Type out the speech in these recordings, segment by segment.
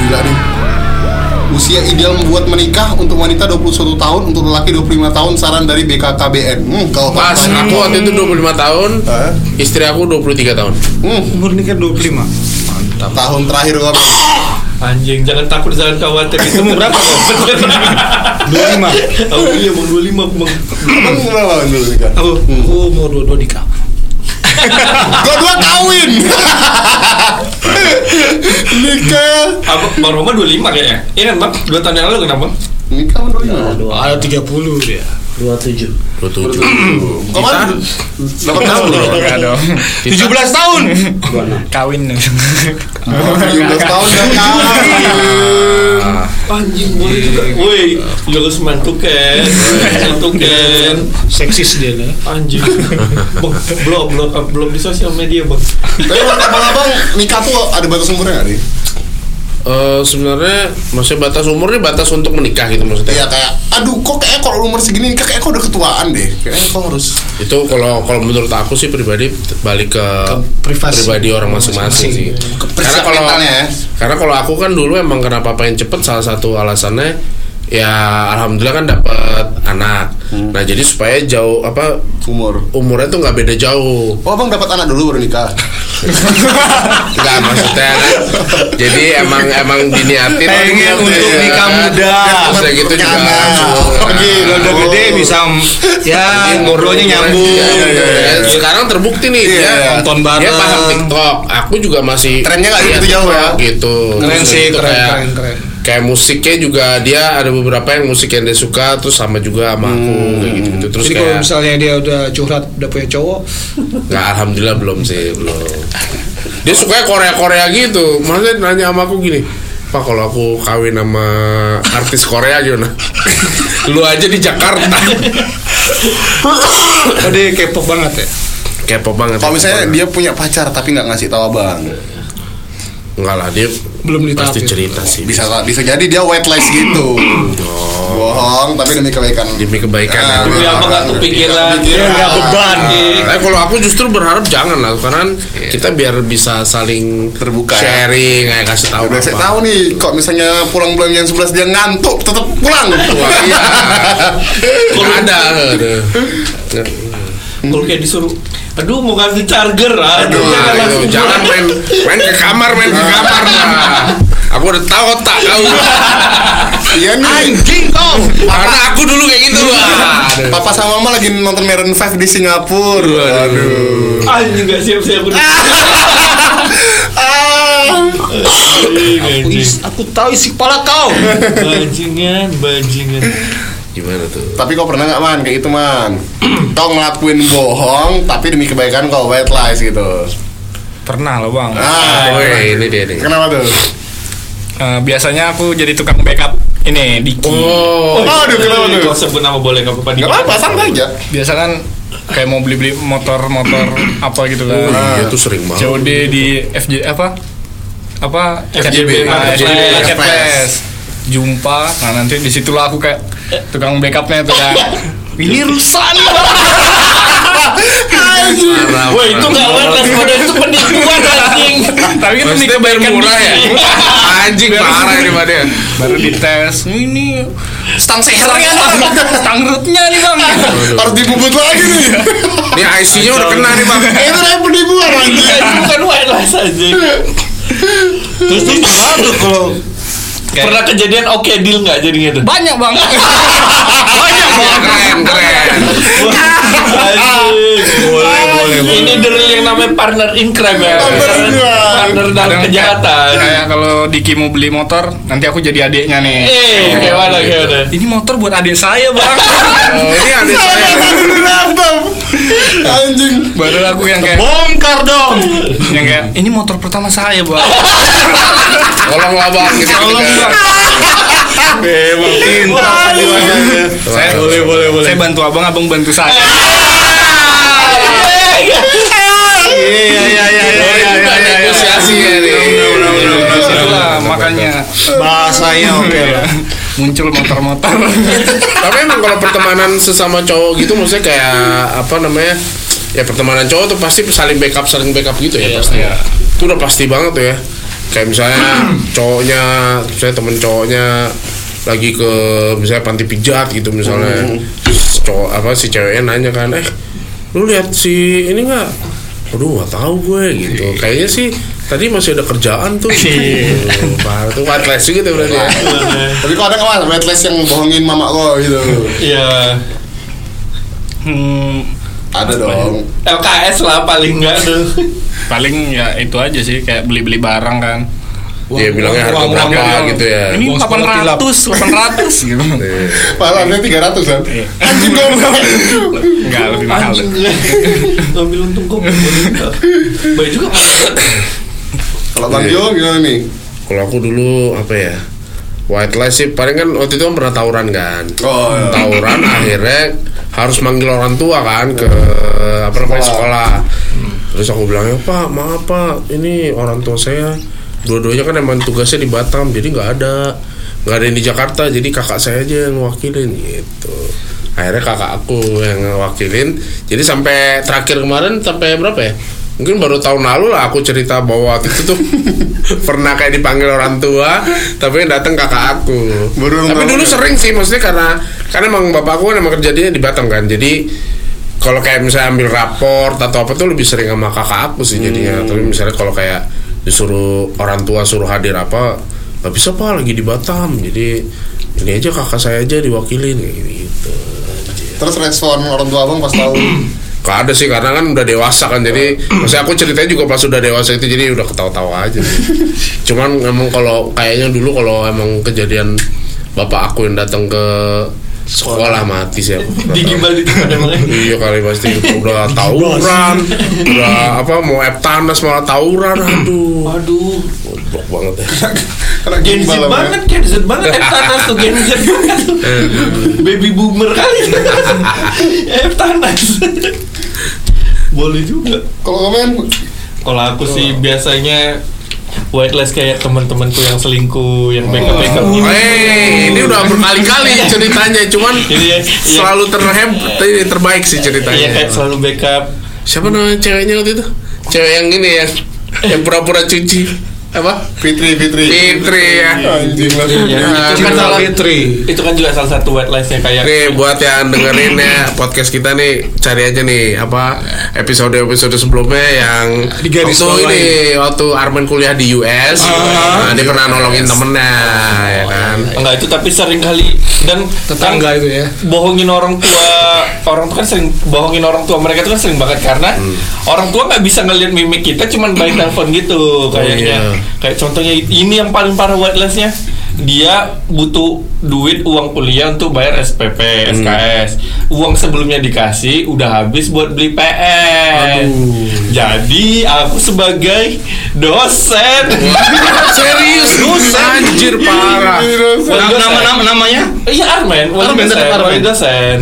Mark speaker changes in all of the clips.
Speaker 1: gila nih. Usia ideal membuat menikah untuk wanita 21 tahun, untuk lelaki 25 tahun saran dari BKKBN. Hmm, kalau
Speaker 2: Pas
Speaker 1: kata-
Speaker 2: aku waktu itu 25 tahun,
Speaker 1: Hah?
Speaker 2: istri aku 23 tahun.
Speaker 1: Hmm,
Speaker 3: Umur nikah 25
Speaker 2: Hmm.
Speaker 3: Mantap
Speaker 1: tahun terakhir gua
Speaker 4: Anjing, jangan takut, jangan khawatir. Itu umur berapa, Bang?
Speaker 3: 25
Speaker 4: Oh iya, Bang 25, Bang.
Speaker 1: Emang kenapa dulu nikah?
Speaker 4: Aku aku umur 22 nikah.
Speaker 1: Gua kawin. nikah.
Speaker 4: Apa Bang Roma 25 kayaknya? Iya kan, Bang? 2 tahun yang lalu kenapa?
Speaker 1: Nikah sama doi.
Speaker 3: Ada 30 dia
Speaker 5: 27
Speaker 2: 27.
Speaker 1: Kemarin delapan tahun loh.
Speaker 3: Enggak dong 17 tahun Kawin
Speaker 1: Tujuh belas tahun udah kawin.
Speaker 2: Eh,
Speaker 4: Anjing, boleh juga. Iya. Woi, lulus mantuken. Mantuken.
Speaker 3: Seksis dia lah
Speaker 4: Anjing. Bang, belum, belum, belum di sosial media, Bang.
Speaker 1: Tapi buat abang-abang nikah tuh ada batas umurnya nggak nih?
Speaker 2: Eh, sebenarnya maksudnya batas umurnya batas untuk menikah gitu maksudnya.
Speaker 1: Iya kayak, aduh kok kayak kalau umur segini nikah kayak kok udah ketuaan deh. Kayaknya kok harus.
Speaker 2: Itu kalau kalau menurut aku sih pribadi t- balik ke,
Speaker 3: privasi.
Speaker 2: pribadi orang masing-masing sih. Karena kalau
Speaker 1: persiapannya ya.
Speaker 2: karena kalau aku kan dulu emang kenapa pengen cepet salah satu alasannya ya alhamdulillah kan dapat anak.
Speaker 3: Hmm.
Speaker 2: Nah jadi supaya jauh apa
Speaker 1: Umur.
Speaker 2: umurnya tuh nggak beda jauh.
Speaker 1: Oh abang dapat anak dulu baru nikah.
Speaker 2: Enggak maksudnya kan. Jadi emang emang diniatin
Speaker 3: Pengen
Speaker 2: gitu,
Speaker 3: untuk
Speaker 2: ya
Speaker 3: nikah
Speaker 2: kan.
Speaker 3: muda.
Speaker 2: Terus udah gitu
Speaker 1: Punya
Speaker 2: juga
Speaker 1: anak.
Speaker 2: langsung,
Speaker 1: Oh,
Speaker 2: kan.
Speaker 1: gila,
Speaker 3: Udah gede bisa Ya ngobrolnya
Speaker 2: Iya, iya,
Speaker 3: nyambung
Speaker 2: iya. Sekarang terbukti nih
Speaker 1: Iya,
Speaker 2: dia
Speaker 3: nonton
Speaker 2: Dia
Speaker 3: bareng.
Speaker 2: paham TikTok. Aku juga masih iya,
Speaker 1: Trennya nggak gitu jauh ya?
Speaker 2: Gitu.
Speaker 3: Keren
Speaker 2: Terus
Speaker 3: sih,
Speaker 2: gitu
Speaker 3: keren,
Speaker 2: kayak-
Speaker 3: keren, keren.
Speaker 2: Kayak musiknya juga dia ada beberapa yang musik yang dia suka terus sama juga sama aku kayak gitu-gitu. Terus
Speaker 3: Jadi kalau
Speaker 2: kayak
Speaker 3: misalnya dia udah curhat udah punya cowok
Speaker 2: Nggak, alhamdulillah belum sih, belum. Dia suka Korea-Korea gitu. Maksudnya nanya sama aku gini, Pak kalau aku kawin sama artis Korea gimana? Lu aja di Jakarta.
Speaker 3: Oh dia kepo banget ya
Speaker 2: Kepo banget.
Speaker 1: Kalau misalnya dia punya pacar tapi nggak ngasih tahu abang,
Speaker 2: Enggak lah, dia
Speaker 3: Belum ditahap ya?
Speaker 2: pasti cerita sih.
Speaker 1: bisa bisa jadi dia whitelist gitu. Bohong tapi demi kebaikan.
Speaker 2: Demi kebaikan. ya.
Speaker 1: Ah,
Speaker 4: Demi
Speaker 1: orang
Speaker 4: apa nggak
Speaker 1: demi
Speaker 4: kepikiran? Iya.
Speaker 1: kepikiran.
Speaker 4: Biar nggak beban.
Speaker 1: Ah.
Speaker 2: Tapi kalau aku justru berharap jangan lah, karena kan kita biar bisa saling
Speaker 1: Iya. Terbuka ya.
Speaker 2: sharing, kayak kasih tahu.
Speaker 1: Udah saya
Speaker 2: apa.
Speaker 1: tahu nih, kok misalnya pulang bulan yang 11 dia ngantuk, tetap pulang.
Speaker 2: Wah, iya. Nggak ada.
Speaker 4: Kalau kayak disuruh, aduh mau ganti charger, aduh,
Speaker 2: Aduh,
Speaker 4: jangan
Speaker 2: ayo,
Speaker 4: langsung
Speaker 2: jangan
Speaker 4: buat.
Speaker 2: main main ke kamar, main ke kamar. Nah, Aku udah tahu otak kau.
Speaker 1: Iya nih.
Speaker 2: kau. Karena aku dulu kayak gitu. Wah, aduh.
Speaker 1: Papa sama mama lagi nonton Maroon 5 di Singapura. Aduh.
Speaker 4: Anjing nggak siap-siap udah. Anjing, anjing.
Speaker 3: Aku tahu isi kepala kau
Speaker 4: Bajingan, bajingan.
Speaker 2: Gimana tuh?
Speaker 1: Tapi kau pernah nggak man kayak gitu man? kau ngelakuin bohong tapi demi kebaikan kau white lies gitu.
Speaker 6: Pernah loh bang.
Speaker 1: Ah,
Speaker 2: Woi, ini dia nih.
Speaker 1: kenapa tuh?
Speaker 6: Eh, biasanya aku jadi tukang backup ini Diki.
Speaker 2: Oh,
Speaker 1: Aduh, kenapa tuh?
Speaker 4: Kau sebut nama boleh nggak apa-apa.
Speaker 1: Gak apa-apa, santai aja.
Speaker 6: Biasa kan kayak mau beli-beli motor-motor apa gitu kan.
Speaker 2: iya tuh sering banget.
Speaker 6: COD di FJ apa? Apa?
Speaker 4: FJB,
Speaker 6: Ah,
Speaker 4: Marketplace.
Speaker 6: FJB, Marketplace. Jumpa. Nah, nanti disitulah aku kayak tukang backupnya tuh kan. Ini rusak nih bang.
Speaker 2: Parah,
Speaker 4: Wah itu
Speaker 2: parah.
Speaker 4: nggak waras pada itu penipuan anjing.
Speaker 6: Tapi kan
Speaker 2: Maksudnya bayar
Speaker 6: nikah
Speaker 2: murah ya?
Speaker 6: Diki.
Speaker 2: Anjing parah ini Pak dia.
Speaker 6: Baru dites. Ini stang
Speaker 2: ya?
Speaker 6: sehernya, stang rootnya nih bang.
Speaker 1: Harus dibubut lagi nih.
Speaker 2: Ini IC-nya udah kena nih Bang.
Speaker 1: Eh, Itu namanya penipuan anjing.
Speaker 4: Itu bukan wireless anjing. Terus terus gimana tuh kalau pernah kejadian oke deal nggak jadinya tuh?
Speaker 6: Banyak bang.
Speaker 2: Oh, Keren, keren.
Speaker 4: Anjing. Boleh boleh. Ini dari yang namanya partner in crime ya.
Speaker 1: Partner in crime.
Speaker 4: Partner dalam
Speaker 6: Kadang
Speaker 4: kejahatan.
Speaker 6: kayak- Kayak kalau Diki mau beli motor, nanti aku jadi adiknya nih.
Speaker 4: Eh, gimana gimana?
Speaker 6: Ini motor buat adik saya, Bang.
Speaker 2: Oh, ini ada saya.
Speaker 1: Anjing.
Speaker 6: Baru aku yang kayak
Speaker 3: Bongkar dong
Speaker 6: yang kayak ini motor pertama saya, Bang.
Speaker 2: Tolonglah Bang. gitu.
Speaker 6: Tolong, Bang.
Speaker 1: Memang pintar penipuannya.
Speaker 6: Saya boleh, boleh, boleh. Saya bantu Abang, Abang bantu saya.
Speaker 1: Iya, iya, iya, iya,
Speaker 2: Oh, ini bukan negosiasi ya
Speaker 6: Iya,
Speaker 2: nih.
Speaker 6: Itulah iya, makanya Iya.
Speaker 3: Bahasanya oke lah
Speaker 6: muncul motor-motor.
Speaker 2: tapi emang kalau pertemanan sesama cowok gitu maksudnya kayak apa namanya ya pertemanan cowok tuh pasti saling backup saling backup gitu ya pasti itu udah pasti banget tuh ya kayak misalnya cowoknya misalnya temen cowoknya lagi ke misalnya panti pijat gitu misalnya terus cowok apa si ceweknya nanya kan eh lu lihat si ini nggak aduh nggak tahu gue gitu kayaknya sih tadi masih ada kerjaan tuh Aduh, parah tuh white lies gitu berarti ya.
Speaker 1: Tapi kok ada nggak mas whitelist yang bohongin mama lo gitu?
Speaker 4: Iya.
Speaker 6: Hmm,
Speaker 1: Ada dong.
Speaker 4: LKS lah paling enggak tuh.
Speaker 2: Iya,
Speaker 6: paling ya itu aja sih kayak beli-beli barang kan.
Speaker 2: dia bilangnya harga
Speaker 6: uang
Speaker 2: berapa
Speaker 6: berapa?
Speaker 2: gitu ya
Speaker 6: Ini
Speaker 3: Uang
Speaker 6: 800, 800 gitu.
Speaker 1: Malamnya tiga ratus kan? Anjing dong.
Speaker 6: Enggak lebih mahal.
Speaker 4: Anjing. Ngambil untung kok. Baik juga.
Speaker 1: Kalau Bang
Speaker 2: Iya.
Speaker 1: Jo gimana nih?
Speaker 2: kalau aku dulu apa ya white lies sih paling kan waktu itu kan pernah tawuran kan
Speaker 1: Oh, iya.
Speaker 2: tawuran akhirnya harus manggil orang tua kan ke apa namanya sekolah terus aku bilangnya pak maaf pak ini orang tua saya dua-duanya kan emang tugasnya di Batam jadi nggak ada nggak ada yang di Jakarta jadi kakak saya aja yang wakilin gitu akhirnya kakak aku yang wakilin jadi sampai terakhir kemarin sampai berapa ya mungkin baru tahun lalu lah aku cerita bahwa waktu itu tuh pernah kayak dipanggil orang tua tapi yang datang kakak aku
Speaker 1: Baru orang
Speaker 2: tapi
Speaker 1: tua
Speaker 2: dulu
Speaker 1: ya?
Speaker 2: sering sih maksudnya karena karena emang bapakku kan emang kerjanya di Batam kan jadi kalau kayak misalnya ambil raport atau apa tuh lebih sering sama kakak aku sih jadinya tapi misalnya kalau kayak disuruh orang tua suruh hadir apa nggak bisa pak lagi di Batam jadi ini aja kakak saya aja diwakilin kayak gitu
Speaker 1: Terus respon orang tua abang pas tahu
Speaker 2: Gak ada sih karena kan udah dewasa kan jadi maksudnya aku ceritanya juga pas udah dewasa itu jadi udah ketawa-tawa aja sih. Cuman emang kalau kayaknya dulu kalau emang kejadian bapak aku yang datang ke sekolah mati sih aku.
Speaker 4: Digimbal di tempat emangnya.
Speaker 2: Iya kali pasti udah tawuran, udah apa mau Eptanas malah tawuran, aduh,
Speaker 4: Aduh,
Speaker 2: goblok banget ya.
Speaker 1: karena ya.
Speaker 4: Gen Z
Speaker 1: gimbal abang,
Speaker 4: banget, Gen Z banget. Eptanas tuh Gen Z banget.
Speaker 2: Eh,
Speaker 4: Baby boomer kali. Eptanas. Boleh juga.
Speaker 1: ya. Kalau komen
Speaker 4: Kalau aku sih biasanya whitelist kayak teman-temanku yang selingkuh, yang backup-backup gitu.
Speaker 2: Eh. Hei, ini udah berkali-kali ceritanya, cuman
Speaker 4: Jadi ya, ya,
Speaker 2: selalu terheb, ini terbaik sih
Speaker 4: Iya
Speaker 2: ceritanya.
Speaker 4: kayak selalu backup
Speaker 2: Siapa namanya ceweknya waktu itu? Cewek yang ini ya, yang pura-pura cuci apa?
Speaker 1: Fitri Fitri.
Speaker 2: Fitri ya.
Speaker 1: Anjing lah.
Speaker 2: Nah,
Speaker 4: Itu kan salah
Speaker 2: Fitri.
Speaker 4: Itu kan juga salah satu white lies-nya kayak
Speaker 2: Nih buat yang dengerin ya podcast kita nih cari aja nih apa episode episode sebelumnya yang
Speaker 3: Di garis
Speaker 2: waktu
Speaker 3: bawah
Speaker 2: ini waktu Arman kuliah di US, nah, dia pernah nolongin temennya ya kan.
Speaker 4: Nah, Enggak itu tapi sering kali Dan
Speaker 3: Tetangga itu ya.
Speaker 4: kan bohongin orang tua Orang tua kan sering bohongin orang tua Mereka tuh kan sering banget Karena
Speaker 3: Hmm.
Speaker 4: orang tua nggak bisa ngelihat mimik kita Cuman by telepon
Speaker 3: Oh,
Speaker 4: gitu Kayaknya
Speaker 2: iya.
Speaker 4: Kayak contohnya ini yang paling parah white lies-nya dia butuh duit uang kuliah untuk bayar
Speaker 3: Hmm.
Speaker 4: SPP, SKS. Uang sebelumnya dikasih, udah habis buat beli PS. Jadi aku sebagai dosen.
Speaker 2: Serius anjir parah.
Speaker 4: Nama- nama- nama-
Speaker 3: namanya?
Speaker 4: Iya Armen, wali
Speaker 3: Armen,
Speaker 4: dosen,
Speaker 3: tetap Armen.
Speaker 4: wali dosen.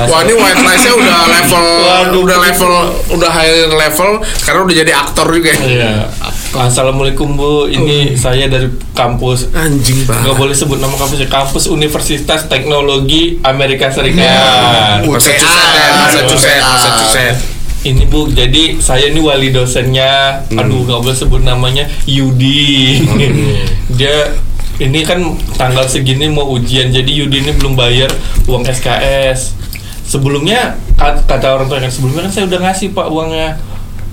Speaker 2: Wah ini white lies-nya udah level
Speaker 4: Waduh.
Speaker 2: udah level udah higher level sekarang udah jadi aktor juga.
Speaker 4: Iya. Assalamualaikum Bu, ini
Speaker 2: Oh.
Speaker 4: saya dari kampus
Speaker 2: Anjing
Speaker 4: nggak
Speaker 2: banget.
Speaker 4: boleh sebut nama kampusnya kampus Universitas Teknologi Amerika Serikat.
Speaker 1: Wah.
Speaker 2: Massachusetts,
Speaker 1: UTA.
Speaker 2: Massachusetts, Massachusetts.
Speaker 4: Ini Bu, jadi saya ini wali dosennya. Aduh, nggak boleh sebut namanya Yudi. Dia ini kan tanggal segini mau ujian, jadi Yudi ini belum bayar uang SKS. Sebelumnya kat- kata orang tua kan sebelumnya kan saya udah ngasih Pak uangnya.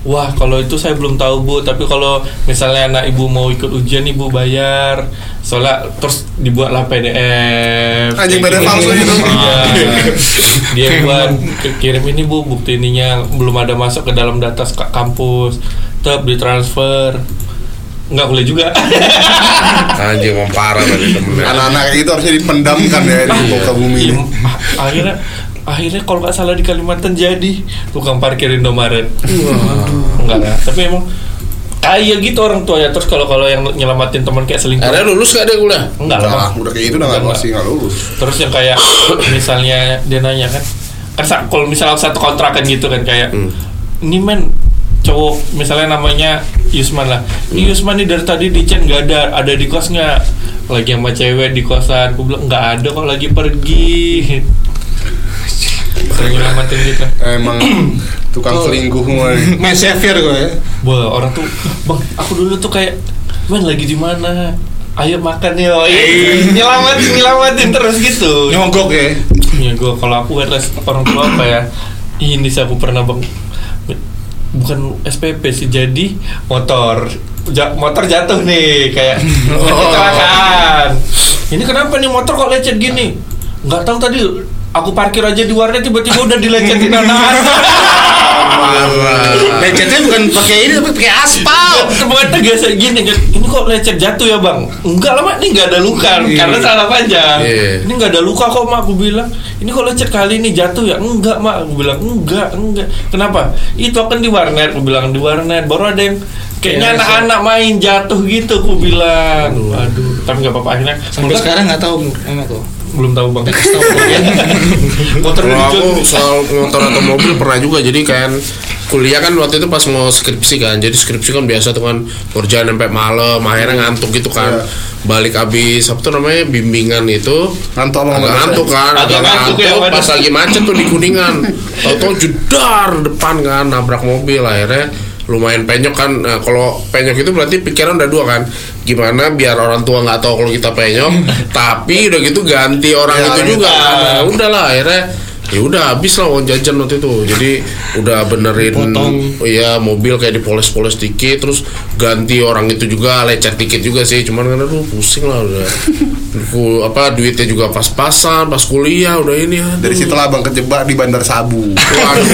Speaker 4: Wah, kalau itu saya belum tahu Bu, tapi kalau misalnya anak Ibu mau ikut ujian Ibu bayar. Soalnya terus dibuatlah PDF.
Speaker 1: Anjing PDF
Speaker 4: Kayak gitu.
Speaker 1: palsu itu.
Speaker 4: Iya dia buat ke- kirim ini bu bukti ininya belum ada masuk ke dalam data sk- kampus tetap ditransfer nggak boleh juga
Speaker 2: Anjing mau parah tadi temennya.
Speaker 1: Anak-anak kayak gitu harusnya dipendamkan ya di muka bumi.
Speaker 4: Iya, a- akhirnya akhirnya kalau nggak salah di Kalimantan jadi tukang parkir Indomaret enggak lah tapi emang kayak gitu orang tuanya terus kalau kalau yang nyelamatin teman kayak selingkuh
Speaker 2: Ada lulus gak dia kuliah?
Speaker 4: enggak
Speaker 1: Nah,
Speaker 4: lah
Speaker 1: udah kayak gitu udah Eh, nggak pasti nggak lulus.
Speaker 4: terus yang kayak misalnya dia nanya kan kan sa- kalau misalnya satu kontrakan gitu kan kayak ini men cowok misalnya namanya Yusman lah ini Yusman nih dari tadi di chat nggak ada ada di kos nggak lagi sama cewek di kosan aku bilang nggak ada kok lagi pergi sering nyelamatin gitu
Speaker 1: Emang tukang selingkuh mulai.
Speaker 3: Main Xavier gue ya.
Speaker 4: Wah, orang tuh bang aku dulu tuh kayak man lagi di mana ayo makan ya, oh yo nyelamatin nyelamatin terus gitu
Speaker 3: Iya. Nyogok ya.
Speaker 4: ya gue kalau aku headless orang tua apa ya ini sih aku pernah bang bukan SPP sih jadi motor Ja- motor jatuh nih kayak
Speaker 3: Oh.
Speaker 4: kecelakaan ini kenapa nih motor kok lecet gini nggak tahu tadi aku parkir aja di warnet tiba-tiba udah dilecetin anak
Speaker 3: Lecetnya bukan pakai ini tapi pakai aspal.
Speaker 4: Temuan tegas gini kan, ini kok lecet jatuh ya bang? Enggak lah Mak, ini nggak ada luka karena salah panjang.
Speaker 2: Iya.
Speaker 4: Ini nggak ada luka kok mak, aku bilang. Ini kok lecet kali ini jatuh ya? Enggak mak, aku bilang enggak enggak. Kenapa? Itu kan di warnet, aku bilang di warnet. Baru ada yang kayaknya anak-anak main jatuh gitu, aku bilang. Iya, Aduh, tapi nggak apa-apa akhirnya.
Speaker 3: Sampai
Speaker 4: pulang,
Speaker 3: sekarang nggak tahu enak kok.
Speaker 4: belum tahu bang. Motor
Speaker 2: Kalau
Speaker 4: dari
Speaker 2: aku
Speaker 4: John.
Speaker 2: soal motor atau mobil pernah juga jadi kan kuliah kan waktu itu pas mau skripsi kan jadi skripsi kan biasa tuh kan kerjaan sampai malam akhirnya ngantuk gitu kan
Speaker 1: Iya.
Speaker 2: balik abis apa tuh namanya bimbingan itu
Speaker 1: Ngantuk sama
Speaker 2: agak
Speaker 1: ngantuk.
Speaker 2: ngantuk kan
Speaker 4: Agak
Speaker 2: agak
Speaker 4: ngantuk
Speaker 2: ngantuk
Speaker 4: ya, waduh.
Speaker 2: pas lagi macet tuh di kuningan tau jedar depan kan nabrak mobil akhirnya lumayan penyok kan Nah, kalau penyok itu berarti pikiran udah dua kan gimana biar orang tua nggak tahu kalau kita penyok tapi udah gitu ganti orang
Speaker 1: Ya,
Speaker 2: itu
Speaker 1: orang
Speaker 2: juga Nah, udahlah akhirnya ya udah habis lah uang jajan waktu itu jadi udah benerin iya mobil kayak dipoles-poles dikit terus ganti orang itu juga lecet dikit juga sih cuman kan aduh pusing lah udah Ku- apa duitnya juga pas-pasan pas kuliah udah ini aduh.
Speaker 1: Dari situlah abang kejebak di Bandar Sabu.
Speaker 2: Waduh,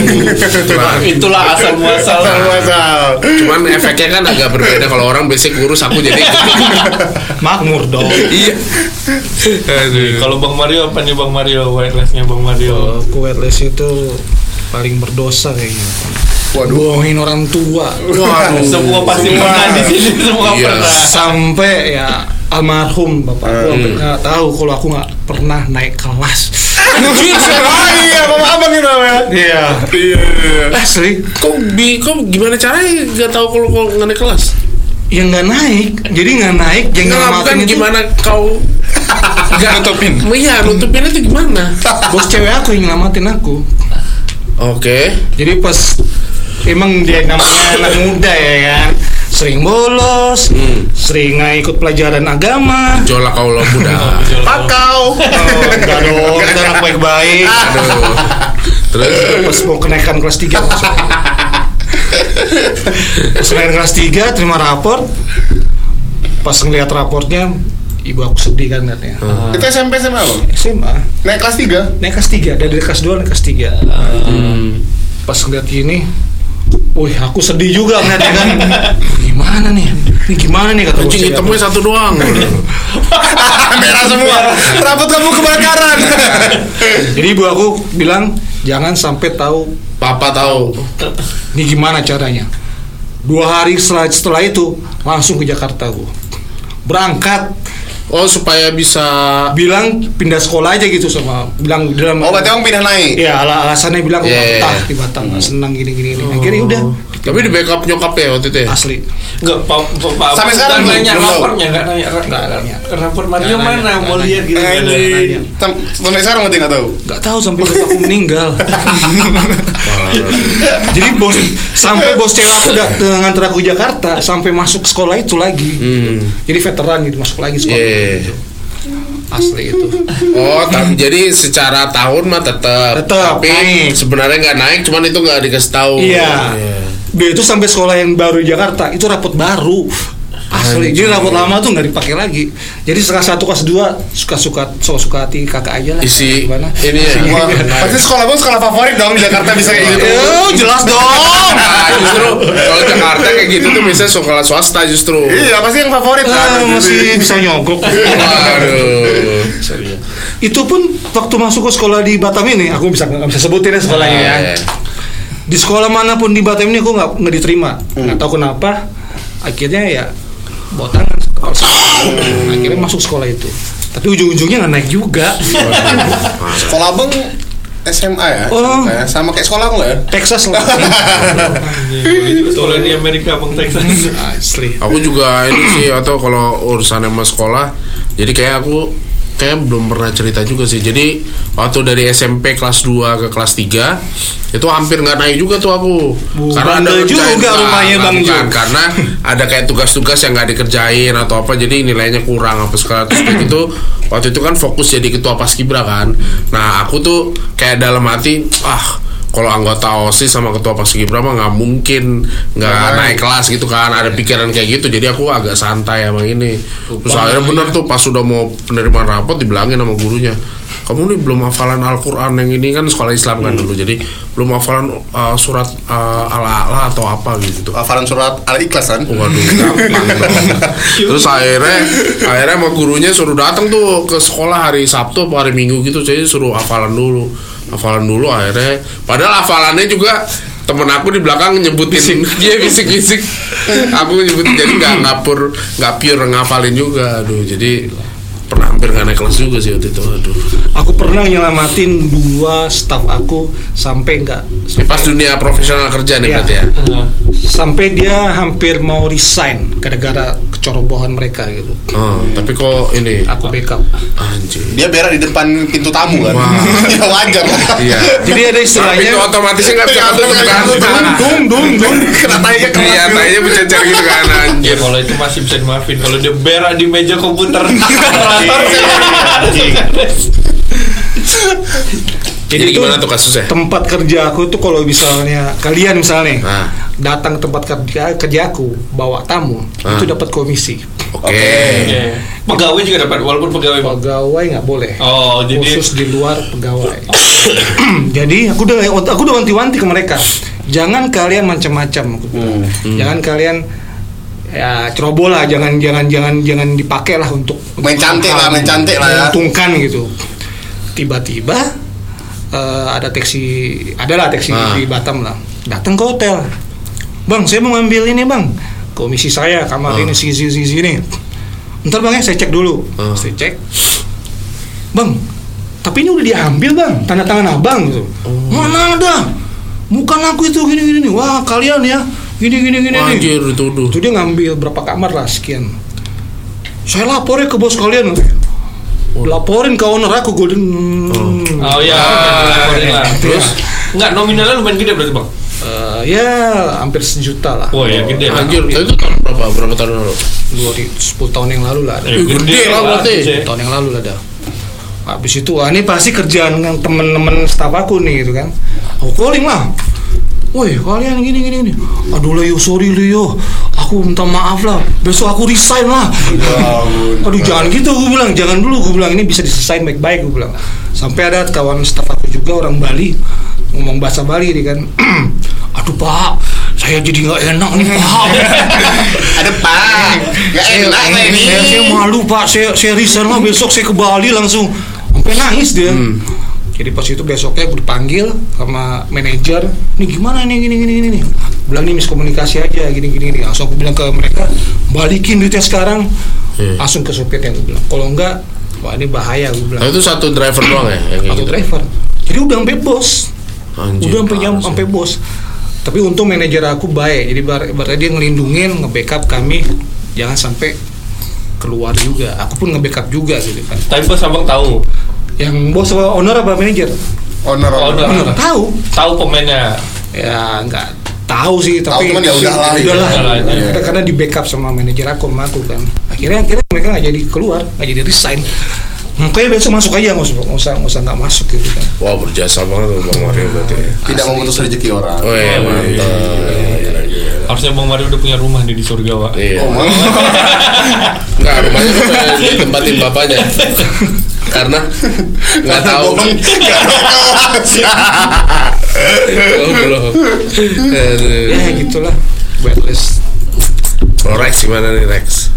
Speaker 2: itulah.
Speaker 4: Itulah asal muasal.
Speaker 1: Asal-asal.
Speaker 2: cuman efeknya kan agak berbeda kalau orang basic kurus aku jadi gitu.
Speaker 3: Makmur dong.
Speaker 2: iya
Speaker 4: Kalau Bang Mario apa nih Bang Mario wirelessnya Bang Mario?
Speaker 5: Kalau aku wireless itu paling berdosa kayaknya.
Speaker 1: Waduh.
Speaker 5: Bohongin orang tua.
Speaker 2: Waduh.
Speaker 4: Semua pasti pernah di sini semua
Speaker 2: Iya.
Speaker 4: pernah.
Speaker 5: Sampai ya almarhum bapak aku sampai
Speaker 1: Hmm.
Speaker 5: nggak tahu kalau aku nggak pernah naik kelas.
Speaker 1: Ah, iya, sama abang itu namanya.
Speaker 5: Iya.
Speaker 1: Iya.
Speaker 5: Asli,
Speaker 2: kok bi kok gimana caranya nggak tahu kalau kalau nggak naik kelas
Speaker 5: yang ya nggak naik, jadi nggak naik, yang
Speaker 2: nggak
Speaker 5: nggak
Speaker 2: bukan
Speaker 5: makan itu.
Speaker 2: gimana kau nggak
Speaker 3: Nutupin.
Speaker 2: iya nutupinnya itu gimana
Speaker 5: Bos cewek aku yang ngamatin aku.
Speaker 2: oke
Speaker 5: Jadi pas emang dia namanya anak muda ya kan, sering bolos, sering nggak ikut pelajaran agama.
Speaker 2: jolak kau lo muda
Speaker 5: Pakau. Oh, enggak dong, kita anak baik-baik.
Speaker 2: aduh terus
Speaker 5: Pas mau kenaikan kelas 3 Pas kenaikan kelas 3 terima rapor Pas ngeliat raportnya Ibu aku sedih kan katanya
Speaker 1: Itu SMP SMA abang?
Speaker 5: SMA
Speaker 1: Naik kelas 3?
Speaker 5: Naik kelas 3 Dari kelas 2 naik kelas 3
Speaker 2: Hmm.
Speaker 5: Pas ngeliat gini Wih aku sedih juga ngeliatnya kan Gimana nih Ini gimana nih kata
Speaker 2: anjing
Speaker 5: bocah.
Speaker 2: hitamnya satu doang
Speaker 1: Merah semua. Rambut kamu kebakaran.
Speaker 5: Jadi ibu aku bilang Jangan sampai tahu
Speaker 2: papa tahu
Speaker 5: Ini gimana caranya? Dua hari setelah, setelah itu langsung ke Jakarta gua. Berangkat,
Speaker 2: oh supaya bisa
Speaker 5: bilang pindah sekolah aja gitu sama bilang di dalam
Speaker 1: Oh, berarti abang pindah naik.
Speaker 5: Ya ala- alasannya bilang
Speaker 2: Iya, iya, Oh.
Speaker 5: betah
Speaker 2: iya.
Speaker 5: di Batam, nggak senang gini gini. gini. Akhirnya udah
Speaker 2: tapi di backup nyokap ya waktu itu ya
Speaker 5: asli.
Speaker 4: Enggak, Pak, Pak, Pak.
Speaker 1: Sampai sekarang belum-
Speaker 4: nanya
Speaker 1: belum tahu.
Speaker 4: rapornya enggak nanya.
Speaker 5: Nggak nanya.
Speaker 4: Rapor Mario
Speaker 5: Nggak nanya,
Speaker 4: mana mau
Speaker 5: nggak
Speaker 4: lihat
Speaker 1: Eh,
Speaker 4: gitu. nggak
Speaker 1: di-
Speaker 4: nanya.
Speaker 1: sam- Sampai sekarang berarti nggak tahu.
Speaker 5: Gak tahu sampai bos aku meninggal. Jadi bos sampai bos cewek aku udah nganter aku ke Jakarta sampai masuk sekolah itu lagi. Jadi veteran gitu masuk lagi sekolah.
Speaker 2: Hmm. Iya.
Speaker 5: Asli itu.
Speaker 2: Oh, tapi jadi secara tahun mah tetap,
Speaker 5: Tetap,
Speaker 2: tapi
Speaker 5: naik.
Speaker 2: sebenarnya nggak naik, cuman itu nggak dikasih tahu.
Speaker 5: Iya. Dia itu sampai sekolah yang baru di Jakarta itu rapot baru. Asli. Jadi rapot lama tuh nggak dipakai lagi. Jadi kelas satu kelas dua suka suka suka suka hati kakak aja lah.
Speaker 2: Isi
Speaker 5: gimana?
Speaker 2: ini ya.
Speaker 1: Wah, pasti sekolah abang sekolah favorit dong di Jakarta bisa kayak gitu.
Speaker 5: Eh, jelas dong.
Speaker 2: Nah, justru kalau Jakarta kayak gitu tuh biasanya sekolah swasta justru.
Speaker 1: Iya, pasti yang favorit kan.
Speaker 5: Ah, masih bisa nyogok.
Speaker 2: Waduh.
Speaker 5: itu pun waktu masuk ke sekolah di Batam ini, aku bisa nggak bisa sebutin ya sekolahnya ya.
Speaker 2: Iya.
Speaker 5: Di sekolah manapun di Batam ini aku nggak nggak diterima. Nggak tahu kenapa. Akhirnya ya bawa tangan ke kepala sekolah. Akhirnya masuk sekolah itu. Tapi ujung-ujungnya nggak naik juga.
Speaker 2: Ah,
Speaker 1: Sekolah abang SMA ya?
Speaker 5: Oh.
Speaker 1: SMA. Sama kayak sekolah aku nggak ya?
Speaker 5: Texas lah.
Speaker 4: Soalnya di Iya, Amerika Bang Texas.
Speaker 5: Asli.
Speaker 2: Aku juga ini sih atau kalau urusan sama sekolah, jadi kayak aku kayak belum pernah cerita juga sih. Jadi waktu dari SMP kelas 2 ke kelas 3 itu hampir nggak naik juga tuh aku. karena ada
Speaker 5: bandel
Speaker 2: ngerjain-
Speaker 5: juga
Speaker 2: Nggak,
Speaker 5: rumahnya
Speaker 2: nggak, kan.
Speaker 5: Bang
Speaker 2: bukan.
Speaker 5: Jo.
Speaker 2: karena ada kayak tugas-tugas yang nggak dikerjain atau apa jadi nilainya kurang apa segala terus kayak gitu waktu itu kan fokus jadi ketua paskibra kan nah aku tuh kayak dalam hati ah kalau anggota osis sama ketua paskibra mah nggak mungkin nggak naik kelas gitu kan ada pikiran kayak gitu jadi aku agak santai sama ini terus akhirnya bener tuh pas sudah mau penerimaan rapot dibilangin sama gurunya kamu nih belum hafalan Al-Quran yang ini kan sekolah Islam kan dulu jadi belum hafalan uh, surat uh, al-ala atau apa gitu
Speaker 1: Hafalan surat al-ikhlas kan?
Speaker 2: Waduh, gampang dong. Terus akhirnya akhirnya sama gurunya suruh datang tuh ke sekolah hari Sabtu apa hari Minggu gitu. Jadi suruh hafalan dulu. Hafalan dulu akhirnya padahal hafalannya juga temen aku di belakang nyebutin dia bisik-bisik aku nyebutin jadi nggak ngapur nggak pure ngafalin juga aduh jadi pernah hampir nggak naik kelas juga sih waktu itu aduh
Speaker 5: Aku pernah nyelamatin dua staff aku sampai enggak
Speaker 2: Ini pas dunia profesional kerja nih
Speaker 5: Iya.
Speaker 2: berarti ya
Speaker 5: sampai dia hampir mau resign gara-gara kecerobohan mereka gitu.
Speaker 2: Oh, tapi kok ini
Speaker 5: Aku backup.
Speaker 2: anjir
Speaker 1: Dia berak di depan pintu tamu kan?
Speaker 2: Wah.
Speaker 1: ya wajar lah.
Speaker 2: Iya.
Speaker 5: Jadi ada
Speaker 2: Tapi
Speaker 5: istilahnya
Speaker 2: itu otomatisnya nggak bisa
Speaker 1: Iya,
Speaker 2: ketutup kan?
Speaker 1: ketutup.
Speaker 2: Nah.
Speaker 1: Dung, dung, dung. Kena tayanya keras
Speaker 2: Iya,
Speaker 1: gitu.
Speaker 2: tanya bercecer gitu kan
Speaker 4: Ya
Speaker 2: anjir.
Speaker 4: kalau itu masih bisa dimaafin Kalau dia berak di meja komputer
Speaker 2: Jadi gimana tuh kasusnya?
Speaker 5: tempat kerja aku tuh kalau misalnya kalian misalnya
Speaker 2: Nah.
Speaker 5: datang ke tempat kerja kerja aku bawa tamu
Speaker 2: Nah.
Speaker 5: itu dapat komisi
Speaker 2: Oke.
Speaker 4: Iya. Pegawai juga dapat Walaupun pegawai
Speaker 5: pegawai nggak boleh
Speaker 4: Oh jadi
Speaker 5: khusus di luar pegawai jadi aku udah aku udah wanti-wanti ke mereka jangan kalian macam-macam aku bilang.
Speaker 1: Hmm,
Speaker 5: jangan kalian ya ceroboh lah jangan jangan jangan jangan dipakai lah untuk
Speaker 1: Main cantik lah, main cantik lah ya.
Speaker 5: menguntungkan gitu tiba-tiba eh, ada taksi adalah taksi
Speaker 2: Ah.
Speaker 5: di Batam lah datang ke hotel bang saya mau ngambil ini bang komisi saya
Speaker 1: Ah.
Speaker 5: kamar ini si si si ini ntar bang ya saya cek dulu
Speaker 2: Ah.
Speaker 5: saya cek bang tapi ini udah diambil bang tanda tangan abang gitu
Speaker 4: Oh.
Speaker 5: mana ada bukan aku itu gini gini nih wah kalian ya gini gini gini nih
Speaker 2: Anjir dituduh.
Speaker 5: itu dia ngambil berapa kamar lah sekian saya laporin ke bos kalian laporin ke owner aku golden
Speaker 4: Oh iya dilaporin lah.
Speaker 2: Terus
Speaker 4: Enggak nominalnya lumayan gede berarti bang
Speaker 5: Eh, ya hampir sejuta lah
Speaker 4: Wah ya gede lah
Speaker 2: anjir itu tahun berapa? Berapa tahun lalu?
Speaker 5: dua di- 10 tahun yang lalu lah ada.
Speaker 4: Eh,
Speaker 2: Gede lah berarti.
Speaker 4: cuy.
Speaker 5: 10 tahun yang lalu lah ada Iya, habis itu wah ini pasti kerjaan yang temen-temen staff aku nih gitu kan aku calling lah Woi kalian gini gini gini. Aduh Leo sorry Leo, aku minta maaf lah. Besok aku resign lah. Aduh jangan gitu gue bilang, jangan dulu gue bilang ini bisa diselesain baik-baik gue bilang. Sampai ada kawan staff aku juga orang Bali ngomong bahasa Bali dia kan. Aduh Pak, saya jadi nggak enak nih Pak.
Speaker 1: Ada pak. Gak Ya
Speaker 5: saya,
Speaker 1: enak lah ini.
Speaker 5: saya, saya malu Pak, saya, saya resign lah besok saya ke Bali langsung. Sampai nangis dia.
Speaker 1: Hmm.
Speaker 5: Jadi pas itu besoknya gue dipanggil sama manajer, nih gimana nih gini gini gini nih. Bilang nih miskomunikasi aja gini gini gini. Langsung aku bilang ke mereka, balikin duitnya sekarang.
Speaker 2: Iya.
Speaker 5: Langsung ke supirnya gue bilang. Kalau enggak, wah ini bahaya gue bilang.
Speaker 2: Nah, itu satu driver doang ya? yang kayak
Speaker 5: Aku
Speaker 2: gitu?
Speaker 5: driver. Jadi udah sampai bos
Speaker 2: Anjir,
Speaker 5: udah sampai
Speaker 2: parah
Speaker 5: jam
Speaker 2: sih.
Speaker 5: sampai bos tapi untung manajer aku baik jadi bar- berarti dia ngelindungin nge-backup kami jangan sampai keluar juga aku pun nge-backup juga gitu kan
Speaker 4: Tapi pas abang tahu
Speaker 5: yang bos apa owner apa manajer
Speaker 1: Honor, honor.
Speaker 4: Honor.
Speaker 5: owner tahu
Speaker 4: Tahu pemainnya
Speaker 5: ya nggak tahu sih
Speaker 1: Tahu,
Speaker 5: tapi
Speaker 1: cuman ya udahlah, gitu.
Speaker 5: udahlah.
Speaker 4: Udahlah aja.
Speaker 5: Karena- karena di backup sama manajer aku sama aku kan akhirnya akhirnya mereka nggak jadi keluar nggak jadi resign makanya besok masuk aja nggak usah nggak usah nggak usah nggak masuk gitu kan
Speaker 2: Wah berjasa banget tuh Bang Mario berarti.
Speaker 1: Tidak memutus rezeki orang.
Speaker 2: Oh iya mantap. Gila, gila.
Speaker 4: Harusnya Bang Mario udah punya rumah nih di surga Wak.
Speaker 2: Iya.
Speaker 1: Oh, maaf.
Speaker 2: Enggak, rumahnya udah ditempatin bapaknya. Karena nggak tahu.
Speaker 1: Bohong. Nggak ada kelas.
Speaker 2: Oh, belum. Aduh.
Speaker 5: ya gitulah blacklist
Speaker 2: Kalau Oh, Rex gimana nih Rex?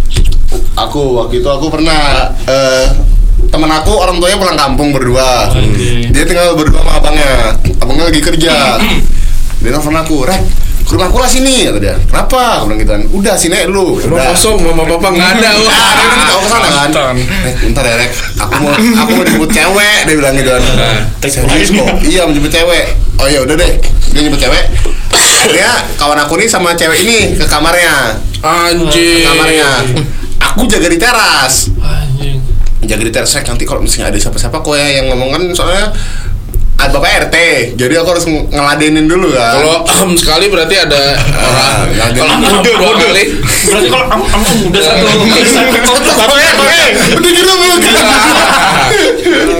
Speaker 1: Aku waktu itu aku pernah eh, temen aku orang tuanya pulang kampung berdua.
Speaker 4: Anjing.
Speaker 1: Dia tinggal berdua sama abangnya. Abangnya lagi kerja. Dia nelfon aku, Rek, ke rumah aku lah sini kata dia. Kenapa? Aku bilang gitu kan. Udah sini aja dulu.
Speaker 2: Rumah
Speaker 1: Udah.
Speaker 2: kosong, mama bapak nggak ada. Wah,
Speaker 1: Ah, dia kan ketawa ke sana kan.
Speaker 6: Mantan.
Speaker 1: Rek, bentar ya, Rek. Aku mau aku mau jemput cewek, dia bilang gitu kan.
Speaker 2: Nah,
Speaker 1: Serius kok? Iya, mau jemput cewek. Oh ya udah deh. Dia jemput cewek. Dia kawan aku nih sama cewek ini ke kamarnya.
Speaker 2: anjir.
Speaker 1: Iya, Kamarnya. Aku jaga di teras.
Speaker 4: Anjing.
Speaker 1: jaga di tersek nanti kalau misalnya ada siapa-siapa kok ya yang ngomong kan soalnya ada bapak RT jadi aku harus ng- ngeladenin dulu kan
Speaker 2: Kalau ahem sekali berarti ada orang.
Speaker 1: ngeladenin
Speaker 2: Kalau
Speaker 1: dulu.
Speaker 2: mundur dua kali.
Speaker 4: Berarti kalau am am am udah satu udah satu
Speaker 1: Bapak RT, udah gitu Bu.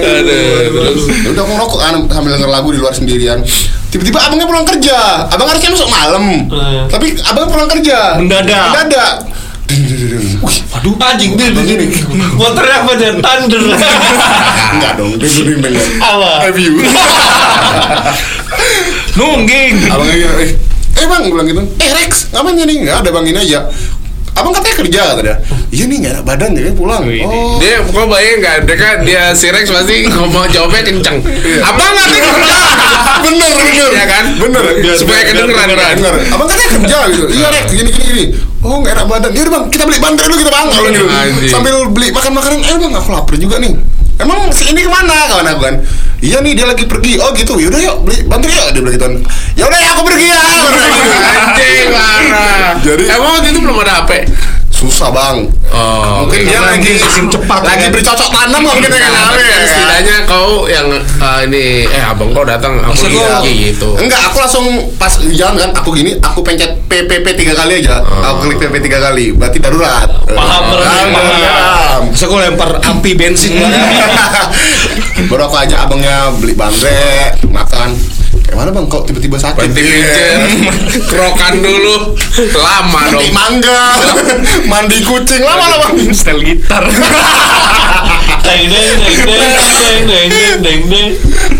Speaker 2: Aduh, terus
Speaker 1: udah aku ngerokok kan sambil denger lagu di luar sendirian tiba-tiba abangnya pulang kerja abang harusnya masuk malam
Speaker 4: Eh.
Speaker 1: tapi abang pulang kerja
Speaker 4: Mendadak.
Speaker 1: mendadak Ding, ding, ding, ding. Wih,
Speaker 4: Aduh anjing dia di sini. Gua teriak pada thunder.
Speaker 1: enggak dong ding, ding, ding, ding.
Speaker 4: Apa?
Speaker 1: have you
Speaker 6: Nungging.
Speaker 1: abangnya bilang, eh eh bang gue bilang gitu eh Rex ngapain ya nih nggak ada bang ini aja abang katanya kerja kata dia iya nih nggak ada badan jadi pulang oh
Speaker 2: dia kok bayang nggak? Dia kan dia si Rex pasti ngomong jawabnya kenceng. Abang nggak
Speaker 1: bener
Speaker 2: kerja.
Speaker 1: bener
Speaker 2: Iya kan?
Speaker 1: bener
Speaker 2: Biar- Supaya
Speaker 1: biar-
Speaker 2: kedengeran
Speaker 1: biar-
Speaker 2: kan?
Speaker 1: bener. abang katanya kerja gitu iya Rex gini gini gini oh nggak enak badan ya udah bang kita beli bantai dulu kita bang kalau gitu
Speaker 2: Iya, Anjing.
Speaker 1: sambil beli makan makanan eh bang aku lapar juga nih Emang si ini kemana kawan aku kan? Iya nih dia lagi pergi. Oh gitu. Yaudah yuk beli bantu yuk dia bilang gitu. Ya udah ya aku pergi ya.
Speaker 2: Anjing marah.
Speaker 1: Jadi
Speaker 2: Emang waktu itu belum ada HP.
Speaker 1: susah bang.
Speaker 2: Oh,
Speaker 1: mungkin dia lagi cepat ya. lagi bercocok tanam nggak mungkin dengan
Speaker 2: ya. Nah,
Speaker 1: apa ya
Speaker 2: tapi kan
Speaker 1: kan?
Speaker 2: setidaknya kau yang eh, ini eh abang kau datang aku
Speaker 1: Maksud gua-
Speaker 2: lagi gitu.
Speaker 1: Iya. enggak aku langsung pas jalan kan aku gini aku pencet PPP tiga kali aja aku klik PPP tiga kali berarti darurat
Speaker 4: Paham,
Speaker 1: Eh,
Speaker 4: berarti
Speaker 1: paham,
Speaker 4: paham.
Speaker 1: paham.
Speaker 5: Masa gue lempar api bensin
Speaker 1: baru aku aja abangnya beli bandrek makan gimana bang kok tiba-tiba sakit Iya.
Speaker 2: Berhenti pincir, krokan dulu, lama dong.
Speaker 1: mandi mangga mandi kucing lama lama
Speaker 6: Stel gitar.
Speaker 4: Deng deng deng deng deng deng deng deng deng.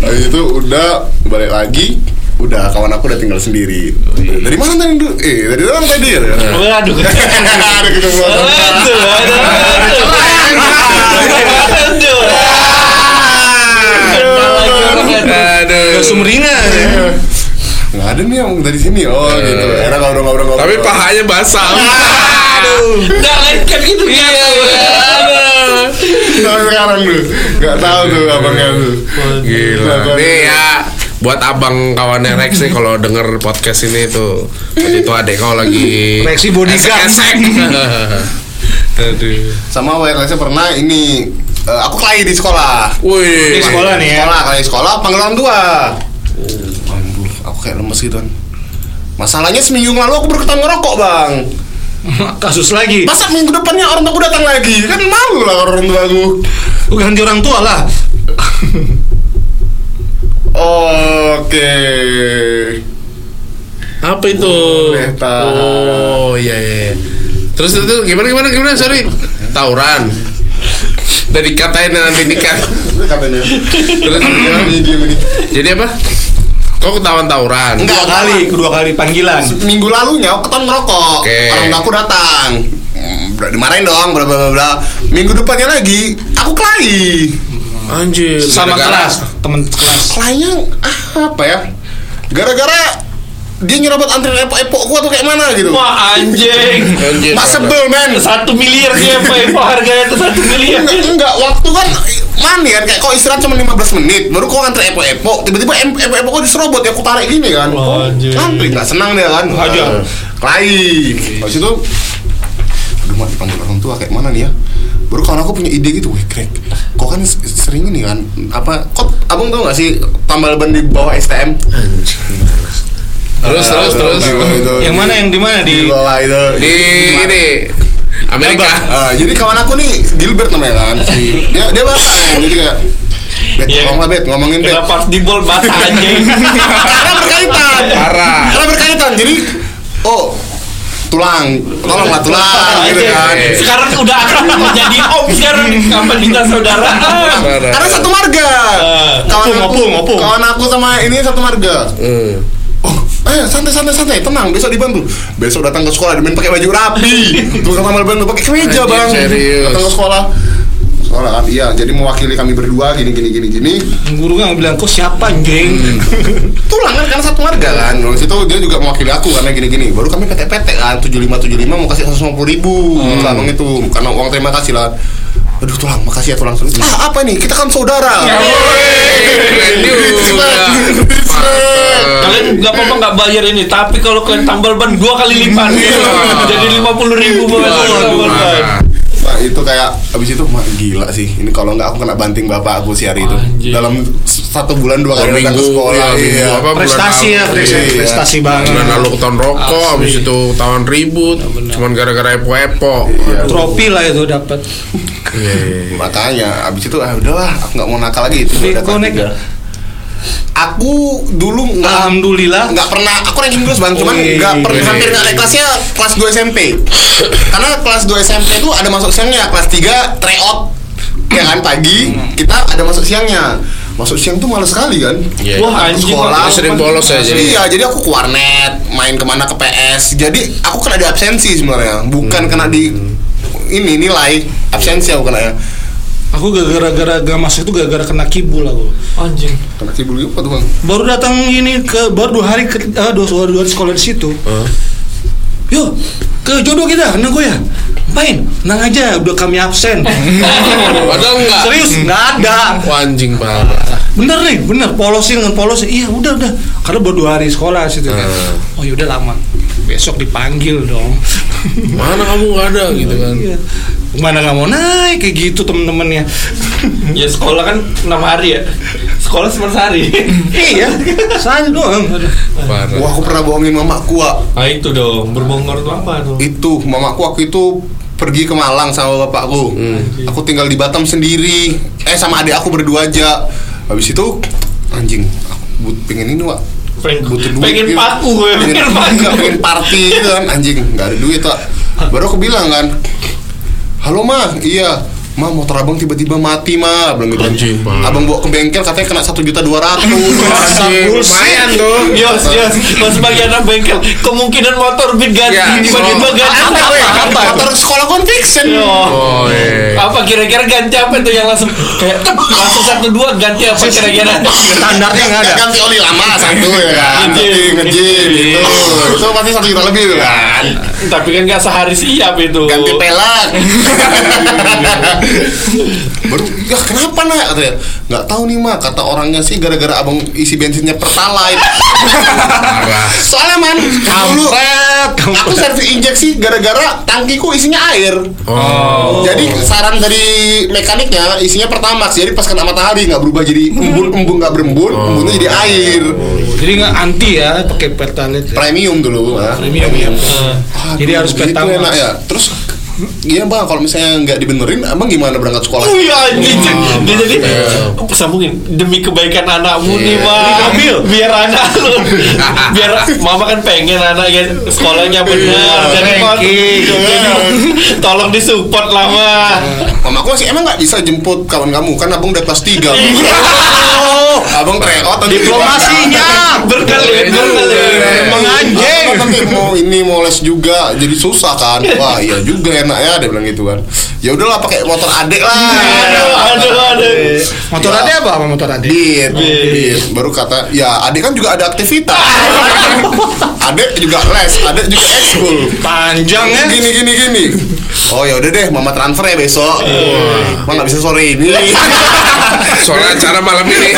Speaker 1: Habis Nah, itu udah balik lagi udah kawan aku udah tinggal sendiri dari mana tadi Du? eh dari dalam tadi ya
Speaker 4: Waduh.
Speaker 1: Ada ketemu orang.
Speaker 4: Aduh, aduh, aduh. Aduh. Kenal lagi orang aduh.
Speaker 2: Aduh.
Speaker 1: Iya. nggak ada nih yang dari sini oh gitu era ngobrol-ngobrol
Speaker 2: Tapi pahanya basah. Iya, Aduh.
Speaker 4: Nggak, lain kan gitu ya.
Speaker 1: Sampai sekarang tuh nggak tahu tuh abangnya tuh
Speaker 2: Gila.
Speaker 1: Nggak tahu.
Speaker 2: Nih ya buat abang kawannya Rex nih kalau denger podcast ini tuh Waktu itu adek kau lagi
Speaker 5: Rexy bodyguard.
Speaker 2: esek-esek. Aduh.
Speaker 1: sama wirelessnya pernah ini eh, aku kelahi di sekolah
Speaker 2: Wih.
Speaker 5: Di sekolah nih ya.
Speaker 1: sekolah kelahi sekolah panggil orang tua Oh, aduh aku kayak lemes gitu kan masalahnya seminggu yang lalu aku baru ketahuan ngerokok bang
Speaker 5: Kasus lagi.
Speaker 1: masa minggu depannya orang tuaku datang lagi kan malu lah orang tuaku
Speaker 5: Lu ganti orang tua lah.
Speaker 1: oke
Speaker 2: Apa itu?
Speaker 1: Boleh tahan.
Speaker 2: Oh iya iya. Terus itu gimana gimana gimana sorry. Tauran. Dari katain nanti nikah.
Speaker 1: Ini katanya
Speaker 2: Terus gimana?
Speaker 1: ini dia ini
Speaker 2: Jadi apa? Kok ketahuan tauran?
Speaker 1: enggak kali
Speaker 5: kedua kali panggilan.
Speaker 1: minggu lalunya aku ketahuan ngerokok
Speaker 2: Oke.
Speaker 1: orang tua aku datang Hmm, ber- dimarahin dong bla bla bla bla minggu depannya lagi aku kelahi
Speaker 2: Anjir.
Speaker 5: Sama
Speaker 2: gara-gara-
Speaker 5: kelas, temen kelas.
Speaker 1: kelahinya ah, apa ya gara-gara dia nyerobot antrian epok-epok gua tuh kayak mana gitu
Speaker 4: Wah, anjing.
Speaker 2: Anjir.
Speaker 1: mak sebel men
Speaker 4: Satu miliar dia, Pak. Pak, harganya tuh satu miliar.
Speaker 1: enggak, enggak waktu kan mani kan kayak kok istirahat cuma 15 menit baru kok nganter epo-epo tiba-tiba em- epo-epo kok diserobot ya aku tarik gini kan
Speaker 4: Wah, anjir.
Speaker 1: nanti nggak senang dia kan aja kelahi pas itu aduh mak dipanggil orang tua kayak mana nih ya baru kawan aku punya ide gitu weh Greg kok kan s- sering ini kan apa kok abang tau gak sih tambal ban di bawah STM
Speaker 2: Terus terus
Speaker 1: Di
Speaker 2: terus.
Speaker 1: bawah itu.
Speaker 5: Yang mana yang di mana
Speaker 1: di
Speaker 5: di
Speaker 1: bawah itu
Speaker 2: Di ini Amerika.
Speaker 1: Ah, jadi kawan aku nih Gilbert namanya kan Si- dia dia bapak kan jadi kayak Bet,
Speaker 4: Iya.
Speaker 1: ngomong lah Bet, ngomongin Bet
Speaker 4: Kenapa pas di bol basah anjing?
Speaker 1: karena berkaitan
Speaker 2: Parah.
Speaker 1: karena berkaitan jadi oh tulang tolonglah tulang gitu kan
Speaker 2: Iya.
Speaker 4: Sekarang udah akan menjadi om sekarang kapan kita saudara?
Speaker 2: Parah.
Speaker 1: karena satu marga
Speaker 4: Eh,
Speaker 1: kawan
Speaker 5: opung,
Speaker 1: aku
Speaker 5: opung, opung.
Speaker 1: kawan aku sama ini satu marga
Speaker 2: Hmm.
Speaker 1: Oh, eh santai santai santai tenang besok dibantu besok datang ke sekolah dimain pakai baju rapi tukang tambal ban pakai kemeja
Speaker 2: Anjing,
Speaker 1: bang
Speaker 2: serius.
Speaker 1: datang ke sekolah sekolah kan iya jadi mewakili kami berdua gini gini gini gini
Speaker 5: guru nggak bilang kok siapa anjing?
Speaker 1: Hmm. tulang kan karena satu marga kan dari situ dia juga mewakili aku karena gini gini baru kami PT PT kan tujuh lima mau kasih seratus ribu abang itu karena uang terima kasih lah aduh tulang makasih ya tulang ah apa nih kita kan saudara
Speaker 4: Kalian nggak apa-apa nggak bayar ini, tapi kalau kalian tambal ban dua kali lipat, jadi lima puluh ribu
Speaker 2: Waduh,
Speaker 4: tambal ban.
Speaker 2: parah.
Speaker 1: Bang, itu kayak abis itu "Ma, gila sih. Ini kalau nggak aku kena banting bapak aku si hari itu.
Speaker 4: Anjing.
Speaker 1: Dalam s- satu bulan dua kali datang ke sekolah.
Speaker 2: iya, minggu
Speaker 1: iya.
Speaker 2: apa, bulan
Speaker 5: Prestasi ya,
Speaker 2: lalu.
Speaker 5: prestasi,
Speaker 2: Iya.
Speaker 5: prestasi banget.
Speaker 2: Bulan lalu tahun rokok, habis itu tahun ribut, cuman gara-gara epo-epo.
Speaker 1: Iya.
Speaker 5: Trofi lah itu dapat.
Speaker 2: Iya, iya, iya.
Speaker 1: Makanya abis itu ah udahlah aku nggak mau nakal lagi itu.
Speaker 5: Tapi
Speaker 1: udah
Speaker 5: kau
Speaker 1: kelas
Speaker 5: naik
Speaker 1: tiga.
Speaker 5: nggak?
Speaker 1: Aku dulu nggak
Speaker 5: Alhamdulillah.
Speaker 1: nggak pernah aku ranking 12 bang cuman
Speaker 5: Wih.
Speaker 1: nggak pernah hampir nggak naik kelasnya kelas 2 SMP karena kelas 2 SMP itu ada masuk siangnya kelas 3 tryout ya kan pagi kita ada masuk siangnya masuk siang tuh males sekali kan
Speaker 2: Iya.
Speaker 1: Wah,
Speaker 4: Wah,
Speaker 1: aku
Speaker 4: anjing,
Speaker 1: sekolah
Speaker 2: Jadi sering bolos ya, jadi.
Speaker 1: iya jadi aku ke warnet main kemana ke PS jadi aku kena di absensi sebenarnya bukan kena di ini nilai absensi aku kena ya
Speaker 5: Aku gara-gara gak masuk itu gara-gara kena kibul aku.
Speaker 4: Anjing.
Speaker 1: kena cibul apa tuh bang
Speaker 5: Baru datang ini ke baru dua hari ke eh, dua, dua, dua hari sekolah di situ. Yo, ke jodoh kita, tenang gue ya. Main, tenang aja, udah kami absen.
Speaker 2: Padahal enggak.
Speaker 5: Serius,
Speaker 1: Hmm.
Speaker 5: nggak ada.
Speaker 2: Wah, anjing parah.
Speaker 5: Bener nih, bener. Polosin dengan polosin. Iya, udah udah. Karena baru dua hari sekolah situ kan. Oh yaudah lama. Besok dipanggil dong.
Speaker 2: Mana kamu nggak ada gitu kan?
Speaker 5: Iya. Mana nggak mau naik kayak gitu temen-temennya.
Speaker 4: Ya sekolah kan 6 hari ya. Sekolah cuma sehari.
Speaker 5: iya, saya doang.
Speaker 2: Parah.
Speaker 1: wah aku pernah bohongin mamaku ah
Speaker 4: Nah itu dong, berbohong tuh apa tuh?
Speaker 1: itu mamaku waktu itu pergi ke Malang sama bapakku aku tinggal di Batam sendiri eh sama adik aku berdua aja habis itu anjing aku but- pengen ini wak
Speaker 4: Pengen,
Speaker 1: butuh duit
Speaker 4: pengen
Speaker 1: gitu.
Speaker 4: paku gue, pengen paku.
Speaker 1: Nggak, pengen party gitu kan anjing nggak ada duit Wak. baru aku bilang kan halo mah iya Ma motor abang tiba-tiba mati ma belum gitu kan.
Speaker 2: Anjing, Bang.
Speaker 1: Abang bawa ke bengkel katanya kena satu juta dua
Speaker 2: Anjing, lumayan tuh.
Speaker 4: Yos, yos, pas bagian anak bengkel kemungkinan motor beat ganti
Speaker 2: Ya,
Speaker 4: tiba-tiba
Speaker 2: so-
Speaker 4: ganti
Speaker 2: Apa,
Speaker 4: apa?
Speaker 2: weh?
Speaker 4: Apa?
Speaker 1: Motor sekolah konfiction.
Speaker 4: Yo.
Speaker 2: Oh, iya.
Speaker 4: Apa kira-kira ganti apa itu yang langsung kayak tep, langsung satu dua ganti apa kira-kira?
Speaker 5: Standarnya nggak ada.
Speaker 1: Nggak ganti oli lama
Speaker 2: Iya,
Speaker 1: satu ya kan
Speaker 4: Ngejim.
Speaker 1: ngejim gitu itu pasti satu juta lebih tuh kan
Speaker 4: Tapi kan gak sehari siap itu.
Speaker 1: ganti pelak baru ya kenapa nak katanya nggak tahu nih mak kata orangnya sih gara-gara abang isi bensinnya pertalite soalnya man dulu aku servis injeksi gara-gara tangkiku isinya air
Speaker 2: Oh.
Speaker 1: Jadi saran dari mekaniknya isinya pertamax jadi pas kena matahari nggak berubah jadi embun embun nggak berembun
Speaker 5: Oh.
Speaker 1: embunnya jadi air
Speaker 5: Jadi nggak anti ya pakai pertalite. ya.
Speaker 1: premium dulu ah. premium
Speaker 4: Eh,
Speaker 1: Aduh,
Speaker 5: Jadi harus
Speaker 1: gitu
Speaker 5: pertamax.
Speaker 1: enak ya terus iya bang kalau misalnya nggak dibenerin abang gimana berangkat sekolah
Speaker 4: Wih anjing
Speaker 5: Hmm.
Speaker 4: Dia jadi
Speaker 5: Iya.
Speaker 4: Sambungin Demi kebaikan anakmu nih Mak Mobil Biar anak lu Biar Mama kan pengen anaknya Sekolahnya benar
Speaker 5: Iya.
Speaker 4: Dan Mak, jadi, Tolong disupport lah Mak
Speaker 1: mama aku masih emang nggak bisa jemput kawan kamu kan abang udah kelas 3
Speaker 4: Iya.
Speaker 1: abang tryout nanti
Speaker 5: Diplomasinya. Iya.
Speaker 4: Berkelit Berkelit
Speaker 1: Emang
Speaker 4: Emang
Speaker 1: anjing nanti mau ini mau les juga jadi susah kan wah iya juga enak ya dia bilang gitu kan ya udahlah pakai motor adek lah
Speaker 4: Aduh Aduh Aduh
Speaker 5: Motor
Speaker 1: Ya.
Speaker 5: ada apa sama motor ada?
Speaker 1: Dit,
Speaker 4: Dit.
Speaker 1: dit. Baru kata, ya adek kan juga ada aktivitas. adek juga les, adek juga ekskul.
Speaker 5: Panjang ya.
Speaker 4: eh.
Speaker 1: Gini gini gini. Oh ya udah deh, mama transfer ya besok. Wah, nggak bisa sore ini.
Speaker 2: Soalnya acara malam ini.